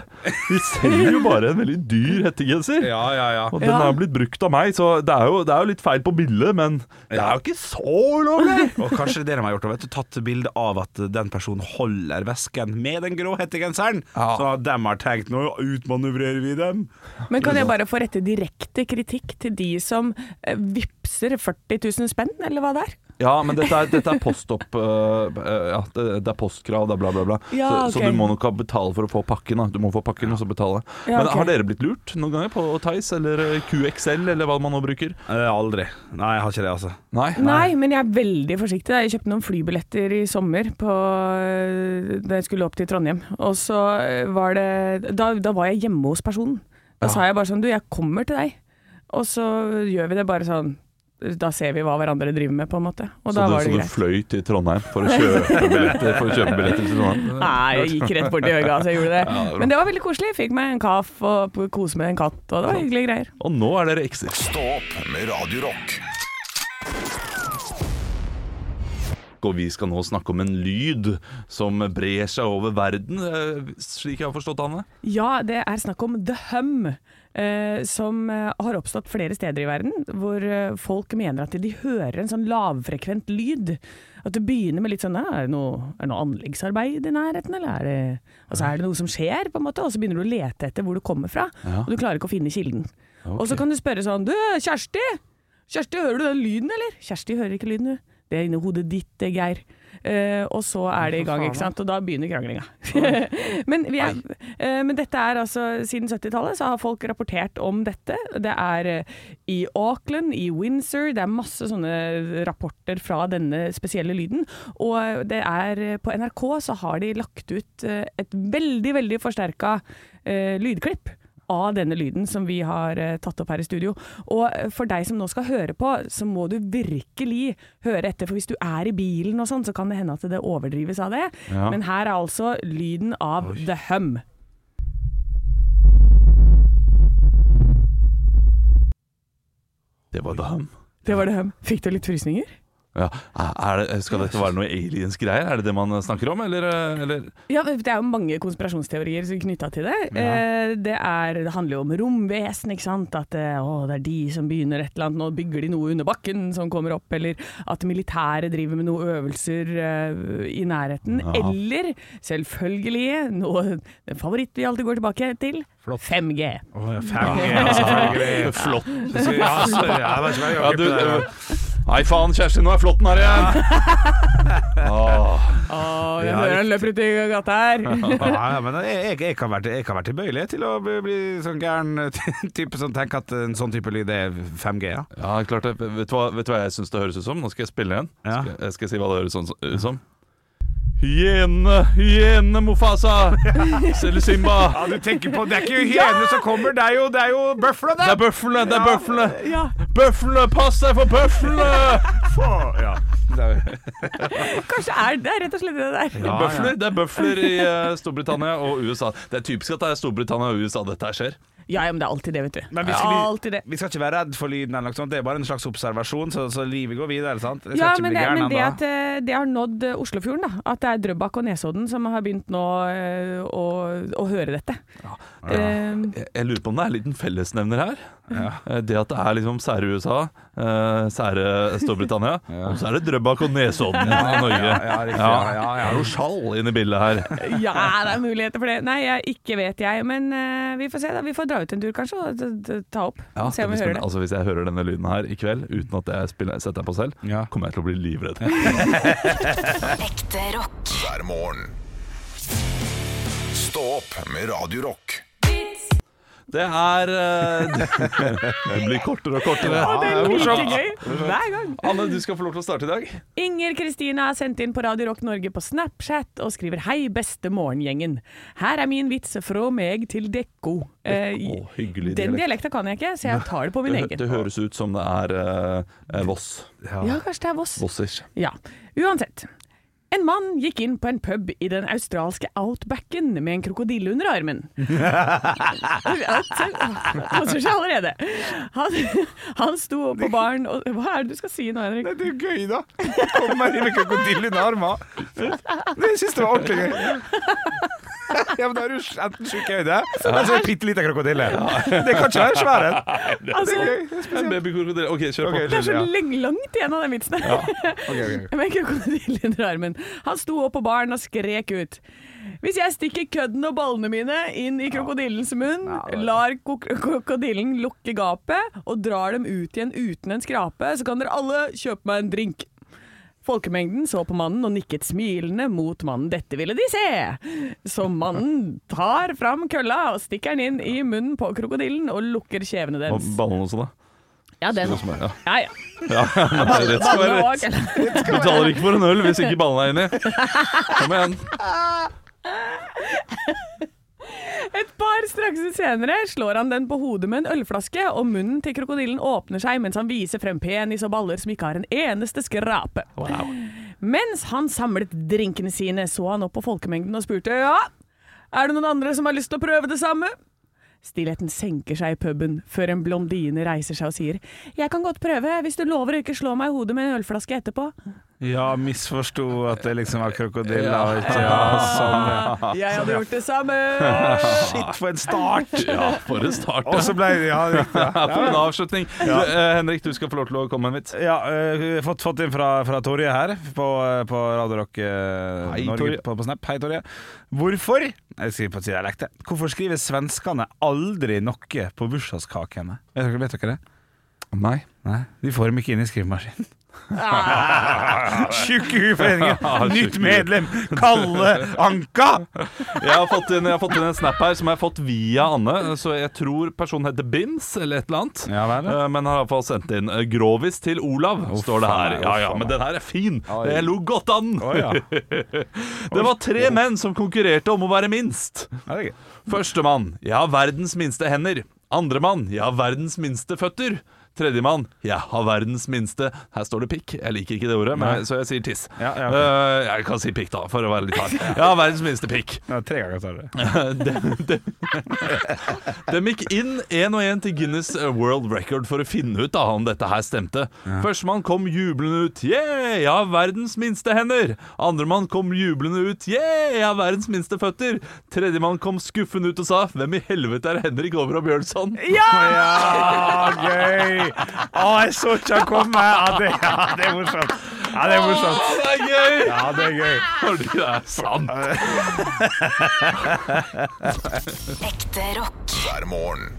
De selger jo bare en veldig dyr hettegenser.
Ja, ja, ja.
Og den
Ja.
er jo blitt brukt av meg, så det er jo, det er jo litt feil på bildet, men det er
Ja.
jo ikke så ulovlig!
Og kanskje det de har gjort, vet du, tatt bilde av at den personen holder vesken med den grå hettegenseren.
Ja.
Så de har tenkt nå utmanøvrerer vi dem.
Men kan jeg bare få rette direkte kritikk til de som eh, vipser 40 000 spenn, eller hva det er?
(laughs) Ja, men dette er, dette er postopp... øh, øh, ja, det, det er postkrav, det er bla, bla, bla.
Ja,
så,
ok.
så du må nok ha betale for å få pakken. Da. Du må få pakken og så betale.
Ja,
men
ok.
har dere blitt lurt noen ganger på Theis eller øh, QXL eller hva man nå bruker?
Eh, Aldri. Nei, jeg har ikke det, altså.
Nei.
Nei, men jeg er veldig forsiktig. Jeg kjøpte noen flybilletter i sommer på, eh, da jeg skulle opp til Trondheim. Og så eh, var det Da, da var jeg hjemme hos personen. Da sa jeg bare sånn Du, jeg kommer til deg. Og så gjør vi det bare sånn Da ser vi hva hverandre driver med, på en måte. Og
Så
da
du,
var
så
det
du
greit.
fløy til Trondheim for å kjøpe billetter, for å kjøpe billetter til Trondheim?
Nei, jeg gikk rett bort til Høga, så jeg gjorde det.
bra.
Men det var veldig koselig. Fikk meg en kaffe og p- kose med en katt, og det var hyggelige greier.
(laughs) Og nå er dere ekser.
Stå opp med Radio Rock.
Og vi skal nå snakke om en lyd som brer seg over verden, eh, slik jeg har forstått, Anne.
Ja, det er snakk om The Hum, eh, som eh, har oppstått flere steder i verden, hvor eh, folk mener at de hører en sånn lavfrekvent lyd. At det begynner med litt sånn «Ah, Er det noe, er det noe anleggsarbeid i nærheten, eller er det, altså, er det noe som skjer, på en måte? Og så begynner du å lete etter hvor du kommer fra,
Ja.
og du klarer ikke å finne kilden. Og så kan du spørre sånn Du, Kjersti! Kjersti, hører du den lyden, eller? Kjersti hører ikke lyden, du. Det er inni hodet ditt, det, Geir. Eh, og så er det i gang, ikke sant. Og da begynner kranglinga. (laughs) men, vi er, eh, men dette er altså Siden 70-tallet så har folk rapportert om dette. Det er eh, i Auckland, i Windsor. Det er masse sånne rapporter fra denne spesielle lyden. Og det er eh, på NRK så har de lagt ut eh, et veldig, veldig forsterka eh, lydklipp av denne lyden som vi har eh, tatt opp her i studio. Og eh, for deg som nå skal høre på, så må du virkelig høre etter, for hvis du er i bilen og sånn, så kan det hende at det overdrives av det.
Ja.
Men her er altså lyden av The Hum.
Det var da ham.
Det var The Hum. Fikk du litt frysninger?
Ja. Er det, skal dette være noe aliens-greier? Er det det man eh, snakker om, eller, eller?
Ja, men det er jo mange konspirasjonsteorier knytta til det. Eh, det, er, det handler jo om romvesen, ikke sant. At eh, å, det er de som begynner et eller annet, nå bygger de noe under bakken som kommer opp. Eller at militæret driver med noen øvelser eh, i nærheten.
Ja.
Eller selvfølgelig noe den favoritt vi alltid går tilbake til, 5G.
Å, ja, altså, 5G, ja, selvfølgelig.
Flott.
Ja, sorry, ja, det var ikke meg, jeg
Ja,
har
du,
ikke det der.
nei, faen, Kjersti, nå er flåtten her igjen! Åh,
Å,
Ja, hører
løper ut i gata
(laughs)
her.
Ja, ja, men jeg, jeg, jeg, kan være, jeg kan være tilbøyelig til å bli, bli sånn gæren eh, type som tenker at en sånn type lyd er 5G. Ja.
ja, klart det. Vet du hva, vet du hva jeg syns det høres ut som? Nå skal jeg spille igjen.
Ja.
Skal, jeg skal jeg si hva det høres sånn, ut som? Hyene, hyene,
(laughs)
Mofasa! Selger Simba!
du tenker på, Det er ikke hyene som kommer, det er jo, det er jo bøfla,
Det er bøflene, det er bøflene!
ja.
Bøflene, pass deg for bøflene!
Ja. Det er,
Kanskje er det rett og slett det der.
Ja, ja.
Bøfler, Det er bøfler i eh, Storbritannia og USA. Det er typisk at det er Storbritannia og USA dette her skjer.
Ja, ja, men det er alltid det, vet du.
Men vi skal-
Alltid det.
vi skal ikke være redd for lyden, eller noe sånt. det er bare en slags observasjon, så, så livet går videre. sant? Jeg skal
Ja,
ikke
men,
bli
det,
gæren
men det
ennå.
at eh, det har nådd eh, Oslofjorden, da. At det er Drøbak og Nesodden som har begynt nå eh, å, å høre dette. Eh,
(laughs)
Jeg, jeg lurer på om det er en liten fellesnevner her. Eh, Det at det er liksom sære USA, eh, sære Storbritannia,
(laughs)
og så er det Drøbak og Nesodden i Norge.
ja, riktig, ja, ja, ja.
Det er noe skjall inne i bildet
(laughs)
her.
ja, det er muligheter for det. Nei, jeg, ikke vet jeg. Men eh, vi får se, da. Vi får dra ut en tur, kanskje, og d- d- ta opp.
Ja,
se om vi
hvis,
hører det.
altså, hvis jeg hører denne lyden her i kveld uten at jeg spiller, setter den på selv,
Ja.
kommer jeg til å bli livredd.
Ekte rock.
hver morgen. Stå opp med Radio Rock.
Det er eh, (laughs) Det blir kortere og kortere.
Å, det
det er
er like
morsomt.
gøy hver gang.
Anne, du skal få lov til å starte i dag.
Inger Kristine har sendt inn på Radio Rock Norge på Snapchat og skriver 'Hei, beste morgengjengen'. Her er min vits fra meg til Dekko. Eh,
Dekko, hyggelig
den dialekta kan jeg ikke, så jeg tar det på min
Det,
egen.
det høres ut som det er eh, Voss.
Ja, kanskje det er Voss.
Vossers.
Ja, uansett. En mann gikk inn på en pub i den australske outbacken med en krokodille under armen. Koser seg allerede. Han, han sto på baren og Hva er det du skal si nå, Henrik?
Nei, Det er jo gøy, da. Kom meg inn med krokodille under armen. Det syns jeg var ordentlig gøy. Ja, men Da er du enten sjuk i øyet, eller
altså
så er du bitte liten krokodille. Det kan ikke være svær en. Det er
Altså,
gøy. Det er spesielt.
Babykrokodille. Ok, kjør
Ok,
på.
det er så
ja.
lang- langt igjen av den vitsen.
Ok,
(laughs)
ok, ok.
Med en krokodille under armen. Han sto opp på baren og skrek ut. Hvis jeg stikker kødden og ballene mine inn i krokodillens munn, lar kok- krokodillen lukke gapet og drar dem ut igjen uten en skrape, så kan dere alle kjøpe meg en drink. Folkemengden så på mannen og nikket smilende mot mannen. Dette ville de se! Så mannen tar fram kølla og stikker den inn i munnen på krokodillen og lukker kjevene
Og
dens.
ballene også, da.
Ja, den.
Sånn som er- ja.
Ja, ja.
Ja, (laughs) nei, rett skal være
Ballene og
rett.
kølla.
Du betaler ikke for en øl hvis ikke ballene er inni. Kom igjen.
Et par strakser senere slår han den på hodet med en ølflaske, og munnen til krokodillen åpner seg mens han viser frem penis og baller som ikke har en eneste skrape.
Wow.
Mens han samlet drinkene sine, så han opp på folkemengden og spurte ja, er det noen andre som har lyst til å prøve det samme? Stillheten senker seg i puben før en blondine reiser seg og sier jeg kan godt prøve hvis du lover å ikke slå meg i hodet med en ølflaske etterpå.
Ja, misforsto at det liksom var krokodiller
Ja.
og ikke ja, sånn.
«Ah, Jeg hadde gjort det samme!
(laughs) Shit, for en start!
Ja, for en start.
Og
Ja.
så ble ja, riktig.
Ja, (laughs) for en avslutning. Du, eh, Henrik, du skal få lov til å komme med en vits.
Ja, eh, vi har fått, fått inn fra, fra Torje her på, eh, på Radio Rock eh,
Hei,
Norge
Torje.
på, på Snap. Hei, Torje. Hvorfor Jeg skriver på dialekt, jeg. Hvorfor skriver svenskene aldri noe på bursdagskakene? Vet dere, vet dere det?
Nei.
Nei, De får dem ikke inn i skrivemaskinen. (laughs) Tjukkehuforeningen! Nytt medlem! Kalle Anka!
Jeg har, fått inn, jeg har fått inn en snap her som jeg har fått via Anne. Så jeg tror personen heter Bims eller et eller annet.
Ja, vel.
Eh, Men har iallfall sendt inn eh, 'Grovis til Olav', står det her.
faen,
Ja,
uff,
ja,
faen.
Men den her er fin!
Oi.
Jeg lo godt an!
Å, ja.
(laughs) Det var tre menn som konkurrerte om å være minst.
Ja, det er gøy.
Førstemann. Jeg har verdens minste hender. Andremann. Jeg har verdens minste føtter. Tredjemann. Jeg har verdens minste Her står det pikk. Jeg liker ikke det ordet, men, så jeg sier tiss.
Ja, ja, ok.
Eh, jeg kan si pikk, da, for å være litt hard. Jeg har verdens minste pikk.
Det var tre ganger større.
De, de, de gikk inn én og én til Guinness eh, World Record for å finne ut da, om dette her stemte. Førstemann kom jublende ut. Yeah, jeg har verdens minste hender. Andremann kom jublende ut. Yeah, jeg har verdens minste føtter. Tredjemann kom skuffende ut og sa Hvem i helvete er Henrik Over og Bjørnson?
Ja, gøy! Å, jeg så ikke han komme! Ja, det, ja, det er morsomt. Ja, det er morsomt.
Å, det er gøy!
Ja, det er gøy.
Fordi det er sant.
Ekte rock.
hver morgen.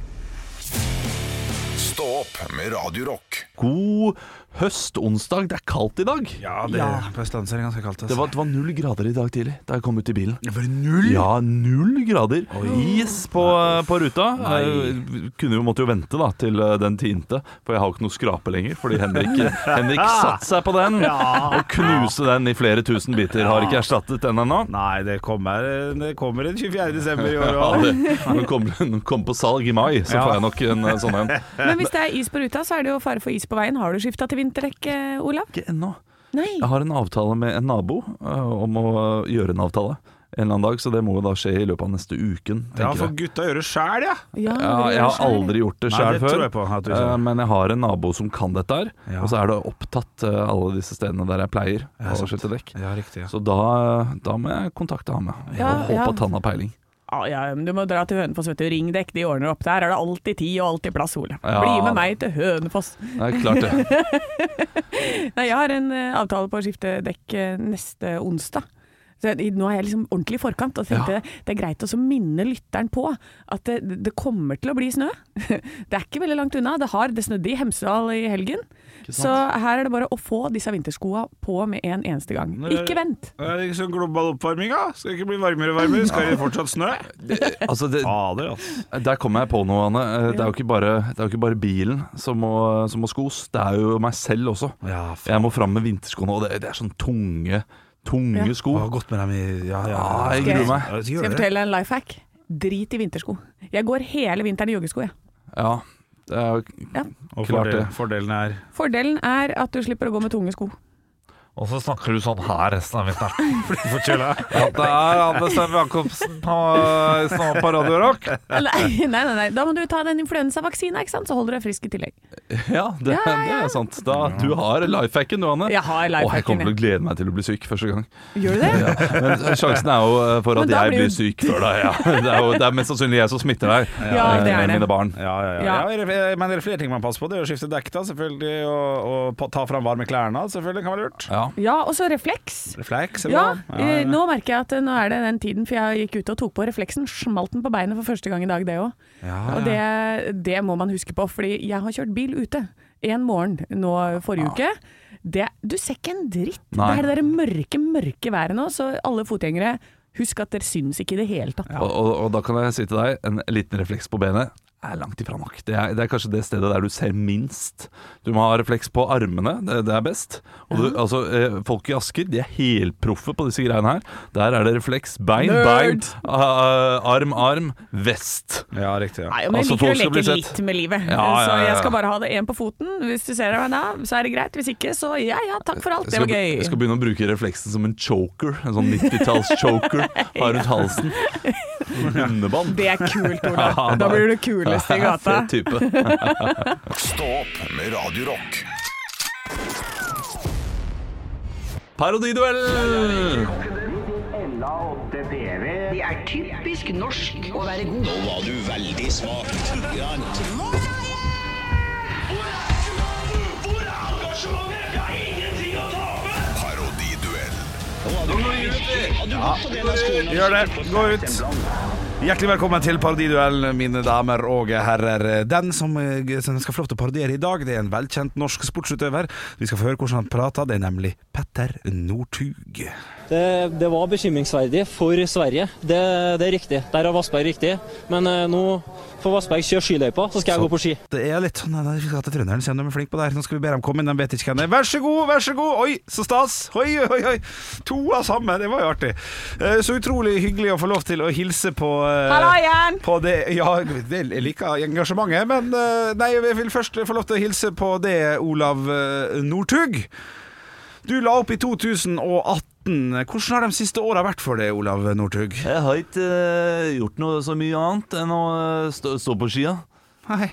Stå opp med Radio Rock.
God høstonsdag. Det er kaldt i dag.
Ja, det, på Østlandet er det ganske kaldt. altså.
Det var, det var null grader i dag tidlig da jeg kom ut i bilen.
var null?
Ja, null grader. Is på, eh, på ruta. Jeg kunne jo, måtte jo vente da til eh, den tinte, for jeg har jo ikke noe skrape lenger. Fordi Henrik, eh,
(laughs)
Henrik satte seg på den og knuste den i flere tusen biter. Har ikke erstattet den ennå.
Nei, det kommer, det kommer den 24. desember i år
(laughs) Ja,
òg.
det- Når den kommer kom på salg i mai, så
Ja.
får jeg nok en eh, sånn en.
Men hvis det er is på ruta, så er det jo fare for is på veien. Har du skifta til vinterdekk, eh, Olav?
Ikke ennå.
Nei.
Jeg har en avtale med en nabo eh, om å eh, gjøre en avtale en eller annen dag, så det må jo da skje i løpet av neste uken.
Ja,
tenker jeg.
for gutta gjør det sjæl, ja.
Ja,
Ja, jeg har aldri gjort det
Nei,
sjøl
det
før,
tror jeg på at du ikke
eh,
har.
men jeg har en nabo som kan dette her.
Ja.
Og så er det opptatt eh, alle disse stedene der jeg pleier å skifte dekk.
Ja, riktig.
Så da, da må jeg kontakte ham og
Ja,
håpe
ja.
at han har peiling.
Ja, Ah, ja, men du må dra til Hønefoss, vet du. Ring dekk, de ordner opp. Der er det alltid tid og alltid plass, Ole.
Ja.
Bli med meg til Hønefoss.
Det er klart
(laughs)
det.
Nei, jeg har en eh, avtale på å skifte dekk eh, neste onsdag. Så jeg, nå er jeg liksom ordentlig i forkant og tenkte
Ja.
det er greit også å minne lytteren på at det, det kommer til å bli snø. (laughs) Det er ikke veldig langt unna. Det har det snødde i Hemsedal i helgen. Så her er det bare å få disse vinterskoa på med en eneste gang. Ikke vent!
Er det ikke sånn global oppvarming, da? Skal det ikke bli varmere og varmere? Skal det fortsatt snø?
(laughs) Altså, det,
Fader, altså.
der kom jeg på noe, Anne. Eh, Det er jo ikke bare, det er jo ikke bare bilen som må, som må skos, det er jo meg selv også.
Ja,
Jeg må fram med vinterskoene, og det, det er sånn tunge, tunge
Ja.
sko.
godt med dem i Ja, ja.
Ah, jeg gruer meg.
Ja,
Skal jeg fortelle deg en life hack? Drit i vintersko. Jeg går hele vinteren i joggesko, jeg.
Ja, det er jo
Og
Klart det.
fordel, fordelen er
Fordelen er at du slipper å gå med tunge sko.
(laughs)
Og så snakker du sånn her resten av vinteren.
(laughs) Forkjøla.
Ja, det er Anne Sem Jacobsen på, som er på Radio Rock.
Nei, nei, nei, nei. Da må du ta den influensavaksina, ikke sant? Så holder du deg frisk i tillegg.
Ja, det,
Ja, ja,
det er sant. Da, du har life hacken du, Anne.
Jeg har
Åh, jeg kommer
lifehacken.
til å glede meg til å bli syk første gang.
Gjør du det?
Ja. Men sjansen er jo eh, for
Men
at
da
jeg
blir
blir
du-
syk før deg. Ja. (laughs) Det, er jo, det er mest sannsynlig jeg som smitter deg
(laughs) Ja,
eh,
det er
med
det.
mine barn.
Ja, ja, ja.
Ja.
ja. jeg- men det er flere ting man passer på. Det er å skifte dekk, da, selvfølgelig. Og, og pa- ta fram varme klærne, selvfølgelig. Kan være lurt.
Ja.
Ja, og så refleks.
Refleks, eller
Ja,
hva?
eh, nå merker jeg at eh, nå er det den tiden, for jeg gikk ut og tok på refleksen. Smalt den på beinet for første gang i dag, det òg. Og det, det må man huske på, fordi jeg har kjørt bil ute en morgen nå forrige uke. det, du ser ikke en dritt.
Ah. Nei.
Det er det der mørke, mørke været nå, så alle fotgjengere, husk at dere syns ikke i det hele tatt.
Og, og, og da kan jeg si til deg, en liten refleks på benet er langt ifra nok. Det er, det er kanskje det stedet der du ser minst. Du må ha refleks på armene, det, det er best. Og du, altså, eh, folk i Asker de er helproffe på disse greiene her. Der er det refleks. Bein, bein,
Nerd!
ah, arm, arm, vest.
Ja, riktig. Ja.
Nei, men jeg
Altså,
liker
folk skal
å
bli
leke
sett.
litt med livet.
Ja,
Så
ja, ja, ja.
jeg skal bare ha det én på foten. Hvis du ser meg da, så er det greit. Hvis ikke, så ja ja, takk for alt. Det
Jeg
var
skal,
gøy.
jeg skal begynne å bruke refleksen som en choker. En sånn 90-talls-choker har rundt halsen. Hundebånd.
Det er kult,
(laughs)
Ola.
Ja,
Da blir du kulest
(laughs)
i gata.
Fet type.
Stå opp med Radio Rock.
Parodiduell!
Det er typisk norsk å være god. Nå var du veldig smak.
Parodiduell.
Gjør det. Gå ut. Hjertelig velkommen til Parodiduell, mine damer og herrer. Den som, eh, som skal få lov til å parodiere i dag, det er en velkjent norsk sportsutøver. Vi skal få høre hvordan han prater. Det er nemlig Petter Northug.
Det, det var bekymringsverdig for Sverige. Det, det er riktig. Der har Vassberg riktig. Men eh, nå får Vassberg kjøre skiløypa, så skal jeg gå på ski.
Det er litt sånn nei, Vi skal til trønderen, se om de er flinke på det her. Nå skal vi be dem komme inn, de vet ikke hvem det er. Vær så god, vær så god! Oi, så stas! Oi, oi, oi! To av samme, det var jo artig. Eh, Så utrolig hyggelig å få lov til å hilse på eh,
Hallo igjen!
På det, ja, det, jeg liker engasjementet, men eh, Nei, jeg vil først få lov til å hilse på det, Olav eh, Northug. Du la opp i 2018. Hvordan har de siste åra vært for deg, Olav Northug?
Jeg har ikke eh, gjort noe så mye annet enn å eh, stå, stå på skia.
Nei,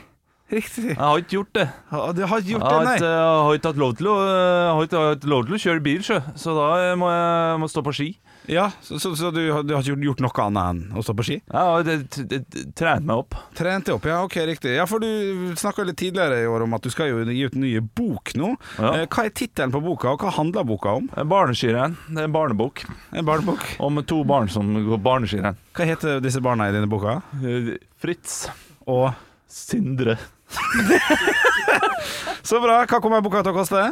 riktig.
Jeg har ikke gjort det.
Ja, Du har ikke
Jeg
gjort
har
det,
ikke,
nei?
jeg har ikke hatt lov til å, eh, jeg har ikke hatt lov til å kjøre bil, sjø. så da eh, må jeg må stå på ski.
Ja, Så, så, så du, har, du har ikke gjort- gjort noe annet enn å stå på ski?
Jeg har eh, det- det- det- trent meg opp.
Trent deg opp, ja, ok, riktig. Ja, for Du snakka litt tidligere i år om at du skal jo gi ut nye bok nå.
Ja.
Eh, Hva er tittelen på boka, og hva handler boka om?
Eh, Barneskirenn. Det er en barnebok
En barnebok.
om to barn som går barneskirenn.
Hva heter disse barna i denne boka?
Eh, Fritz.
Og
Sindre.
Så bra! Hva kommer boka til å (laughs) koste?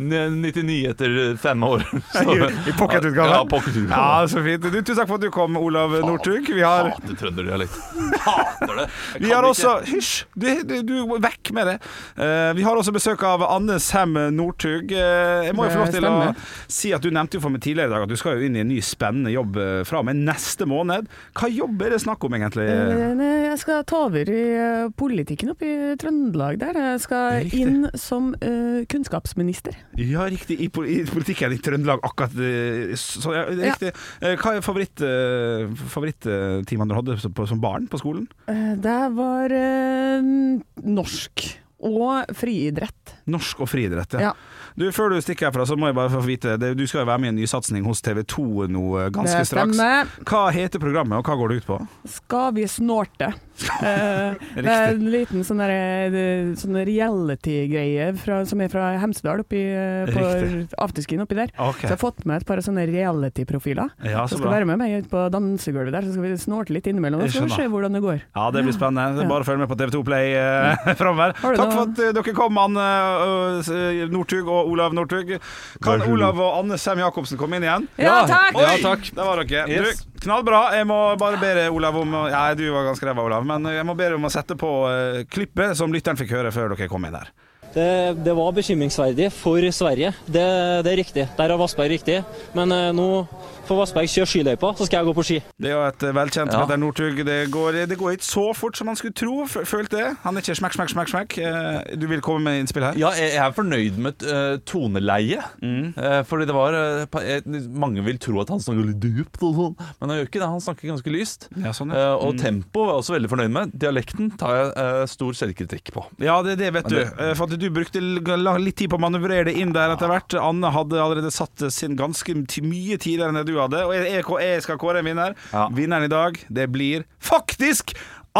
N- 99 etter fem år.
(laughs) I pocketutgave?
Ja, pocketutgave.
Ja, så fint. Du, tusen takk for at du kom, Olav Northug. Vi har
Hater trønderdialekt. Hater det. Jeg
Vi
kan
har
ikke.
også Hysj! Du, du, du vekk med det. Eh, vi har også besøk av Anne Sem Northug. Eh, jeg må jo få lov
Det
til å
stemmer.
si at du nevnte jo for meg tidligere i dag at du skal jo inn i en ny spennende jobb eh, fra og med neste måned. Hva jobb er det snakk om, egentlig?
Eh, Jeg skal ta over i eh, politikken oppe i Trøndelag der. Jeg skal
Riktig.
inn som eh, kunnskapsminister.
Ja, riktig. I, pol- i politikken i Trøndelag, akkurat eh, så, ja, det er
Ja.
riktig. Eh, hva er favoritt, eh, favorittimene du hadde som- på, som barn på skolen?
Eh, Det var eh, norsk og friidrett.
Norsk og friidrett, ja.
Ja.
Du, Før du stikker herfra, så må jeg bare få vite det, Du skal jo være med i en ny satsing hos TV 2 nå eh, ganske
Det
straks.
stemmer.
Hva heter programmet, og hva går det ut på?
Skal vi
(laughs)
snorte? Eh, det er en liten sånn der, eh, sånn reality-greie fra- som er fra Hemsedal oppi, eh, på
Riktig.
afterskin oppi der.
Ok.
Så jeg har fått med et par sånne reality-profiler.
Ja,
Så
så
skal
bra.
være med meg ut på dansegulvet der, så skal vi snorte litt innimellom. Så
Jeg
skal vi
skjønner.
se hvordan det går.
Ja, det blir spennende.
Ja.
Bare følg med på TV2 Play uh, (laughs) framover.
Har du
Takk
noe-
for at eh, dere kom, Anne eh, Northug og Olav Northug. Kan Olav og Anne Sem Jacobsen komme inn igjen?
Ja, takk!
Oi, Der var dere.
Yes.
Du, knallbra. Jeg må bare be deg, Olav, om å Nei, du var ganske ræva, Olav, men eh, jeg må be deg om å sette på eh, klippet som lytteren fikk høre før dere kom inn her.
Det, det var bekymringsverdig for Sverige. Det, det er riktig. Der har Vassberg riktig. Men eh, nå får Vassberg kjøre skiløypa, så skal jeg gå på ski.
Det er jo et eh, velkjent
Ja.
Petter Northug. Det, går- det går ikke så fort som man skulle tro, f- følte jeg. Han er ikke smekk, smekk, smekk, smekk. Eh, Du vil komme med innspill her?
Ja, jeg jeg er fornøyd med eh, toneleiet.
Mm.
Eh, fordi det var eh, pa- eh, Mange vil tro at han snakker litt dypt, og sånn, men han gjør ikke det. Han snakker ganske lyst.
Ja, sånn,
Eh,
ja.
og tempo var jeg også veldig fornøyd med. Dialekten tar jeg eh, stor selvkritikk på.
Ja, det er det, vet du. Eh, For at du brukte l- la- litt tid på å manøvrere det inn der etter hvert. Anne hadde allerede satt sin ganske ti- mye tidligere enn det du hadde. Og jeg, jeg, jeg skal kåre en vinner.
Ja.
Vinneren i dag, det blir faktisk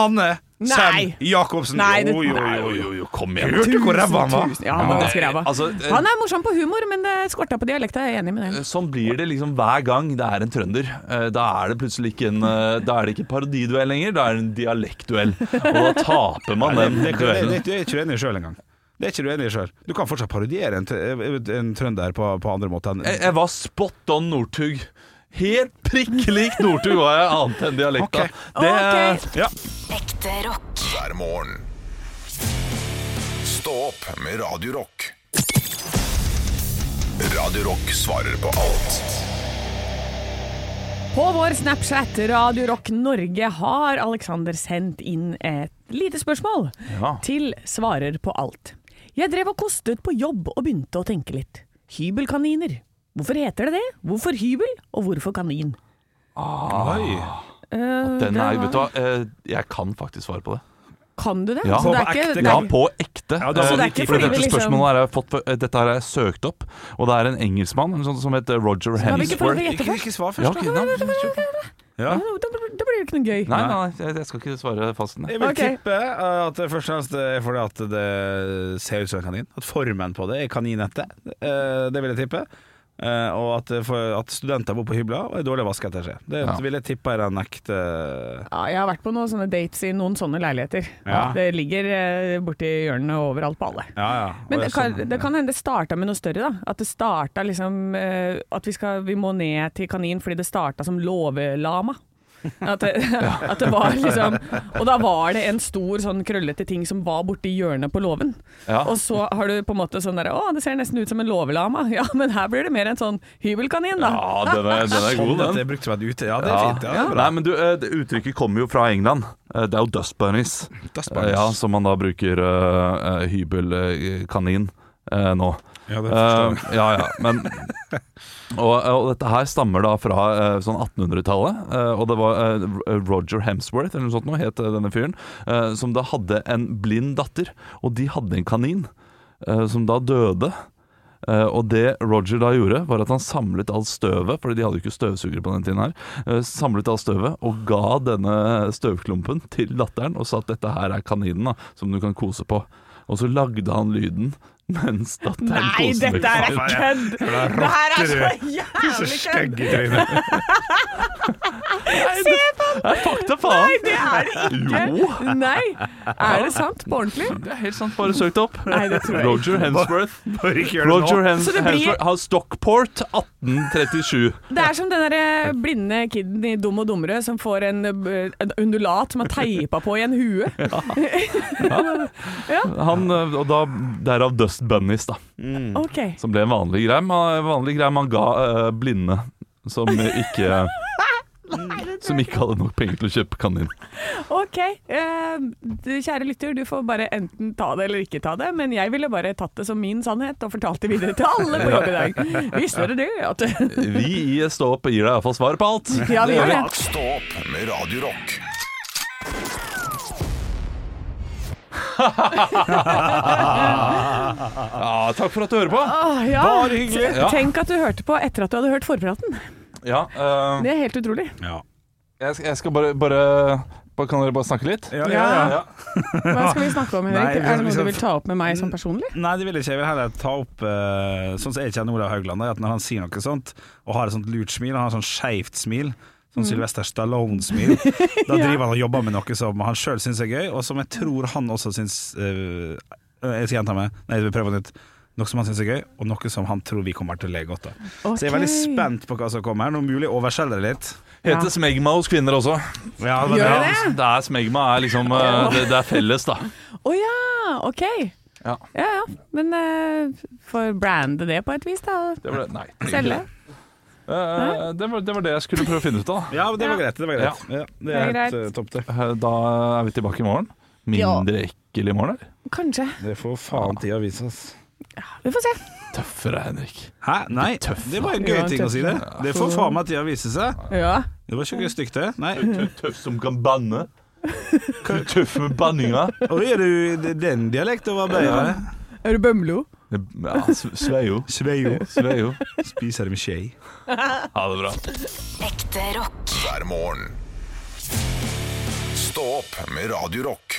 Anne Sem
Nei.
Jacobsen.
Nei, det-
jo, jo, jo, jo.
jo, kom
Hørte du hvor ræva han var?
Tusen- Ja, han var ganske ræva.
altså, eh,
Han er morsom på humor, men det skorta på dialekta, jeg er enig med det.
Sånn blir det liksom hver gang det er en trønder. Eh, Da er det plutselig ikke en eh, Da er det ikke parodiduell lenger, da er det en dialektduell. Og da taper man
(laughs) Nei, det,
den
det, det,
duellen.
det, det er jeg ikke enig i sjøl engang. Det er ikke du enig i sjøl. Du kan fortsatt parodiere en, tr- en trønder på, på andre måter. enn-
Jeg, jeg var spot on Northug. Helt prikk lik Northug var jeg, annet enn dialekta.
Ok.
Det,
Ok.
Ja.
Ekte rock.
hver morgen. Stå opp med Radio Rock. Radio Rock svarer på alt
På vår Snapchat Radio Rock Norge har Alexander sendt inn et lite spørsmål
Ja.
til svarer på alt. Jeg drev og kostet på jobb og begynte å tenke litt. Hybelkaniner. Hvorfor heter det det? Hvorfor hybel, og hvorfor kanin? Eh,
den er, vet du hva, eh, jeg kan faktisk svare på det.
Kan du det?
Ja.
Så det
På
er
ekte
ikke,
Ja,
kan-
på ekte.
Ja, da-
Eh,
Så det er
ikke
for
fordi
dette
vi liksom-
spørsmålet har jeg fått på, eh, Dette har jeg søkt opp, og det er en engelskmann en sånn som heter Roger
Skal vi ikke prøve å
Hemsworth.
gjette
Ikke,
først?
ikke svar
Ja,
først,
ok,
da.
nei, nei,
Ja.
Da blir det blir jo ikke noe gøy.
nei, jeg- jeg skal ikke svare fast. Nei.
Jeg vil
Ok.
tippe eh, at det først og fremst er fordi at det ser ut som en kanin. At formen på det er kaninete. Eh, Det vil jeg tippe. Eh, Og at, det for, at studenter bor på hybla og er dårlig vaska etter seg. Det
Ja.
vil jeg tippe er en ekte
Ja, jeg har vært på noen sånne dates i noen sånne leiligheter.
Ja.
Det ligger eh, borti hjørnet overalt på alle.
Ja, ja.
Men
Og
det
er
kan,
sånn-
det kan hende det starta med noe større, da. At det starta liksom eh, At vi, skal, vi må ned til kanin fordi det starta som låvelama. At det, (laughs) at det var liksom Og da var det en stor sånn krøllete ting som var borti hjørnet på låven.
Ja.
Og så har du på en måte sånn derre Å, det ser nesten ut som en låvelama. (laughs) Ja, men her blir det mer en sånn hybelkanin, da.
Ja, den er, den er god,
Sånn at
den.
det er brukt som et ute... Ja, det er
Ja.
fint. Ja, det er bra.
Nei, men du, eh, det uttrykket kommer jo fra England. Eh, Det er jo dust bunnies.
Dust bunnies.
Eh, Ja, som man da bruker eh, eh, hybelkanin eh, nå.
Ja, det forstår jeg.
Eh, ja, ja,
(laughs)
men og, eh, og dette her stammer da fra eh, sånn 1800-tallet. eh, og det var eh, R- Roger Hemsworth eller noe sånt noe, het eh, denne fyren, eh, som da hadde en blind datter. Og de hadde en kanin eh, som da døde. Eh, og det Roger da gjorde, var at han samlet all støvet, fordi de hadde jo ikke støvsugere på den tiden her, eh, samlet all støvet og ga denne støvklumpen til datteren og sa at dette her er kaninen da, som du kan kose på. Og så lagde han lyden mens datteren
Nei,
koser
dette er
kaninen.
kødd! Det her er så jævlig kødd!
Stygg i trynet. (laughs)
Se på
Det er fakta, faen!
Nei, det er det ikke!
Jo.
Nei, er det sant? På ordentlig?
Det er helt sant, bare søkt opp.
Nei, det tror jeg ikke.
Roger Hemsworth.
Bare ikke gjør det
Roger
nå.
Hems
Så det blir-
Hemsworth har Stockport 1837.
Det er som den der eh, blinde kiden i Dum og dummere som får en, eh, en undulat som er teipa på i en hue.
Han, eh, og da, derav Dust Bunnies, da.
Ok.
Som ble en vanlig greie. Man, vanlig greie man ga eh, blinde som ikke Som ikke hadde nok penger til å kjøpe kanin.
Ok, eh, du, kjære lytter, du får bare enten ta det eller ikke ta det, men jeg ville bare tatt det som min sannhet og fortalt det videre til alle på jobb i (laughs) dag. Visste dere det? At,
Vi i Stå opp gir deg iallfall svar på alt.
ja, vi gjør det.
Stå opp med Radio Rock
Ja, takk for at du hører på.
Åh, ja.
Bare hyggelig.
T- Tenk at du hørte på etter at du hadde hørt forpraten.
Ja, eh,
Det er helt utrolig.
jeg, skal- jeg skal bare, bare, bare Kan dere bare snakke litt?
Ja, ja, ja.
(laughs) Hva skal vi snakke om,
Nei, liksom-
Henrik? Er det
vi
noe
skal-
du vil ta opp med meg som personlig?
Nei, det vil jeg ikke. Jeg vil heller ta opp eh, sånn som jeg kjenner Olav Haugland. da, At når han sier noe sånt, og har et sånt lurt smil, han har et sånt skeivt smil, sånn Sylvester (laughs) Stallone-smil, da driver han og jobber med noe som han sjøl syns er gøy, og som jeg tror han også syns eh, Jeg skal gjenta meg, nei, jeg vil prøve på nytt. Noe som han syns er gøy, og noe som han tror vi kommer til å le godt av. Så jeg er veldig
Ok.
spent på hva som kommer her. Nå mulig overselger det litt.
Heter smegma hos kvinner også.
Ja,
Gjør
bra.
det?
Det er smegma er liksom eh, det, det er felles, da.
Mm.
Å ja, ok.
Ja.
ja, ja. Men uh, får brande det på et vis, da.
Det var det, nei.
Selge.
Eh, eh, det, var, det var det jeg skulle prøve å finne ut av.
Ja, men det var greit. Det var greit. Ja, det er
Det er
helt eh, topp, det.
Eh, Da er vi tilbake i morgen. Mindre ekkel i morgen, eller?
Kanskje.
Det får faen tida vise, ass.
Vi får se.
Tøffere, Henrik.
Hæ? Nei, det var en gøy
Ja,
ting å si det. Det får faen meg tida vise seg.
Ja.
Det var ikke noe stygt, det. (laughs) Nei.
Tøff som kan banne. Tøff med banninga.
Og er du den dialekten var bedre?
Er du bømlo?
Ja, s- sveio.
Sveio.
Sveio.
Spiser med skje.
Ha det bra.
Ekte rock.
hver morgen. Stå opp med Radio Rock.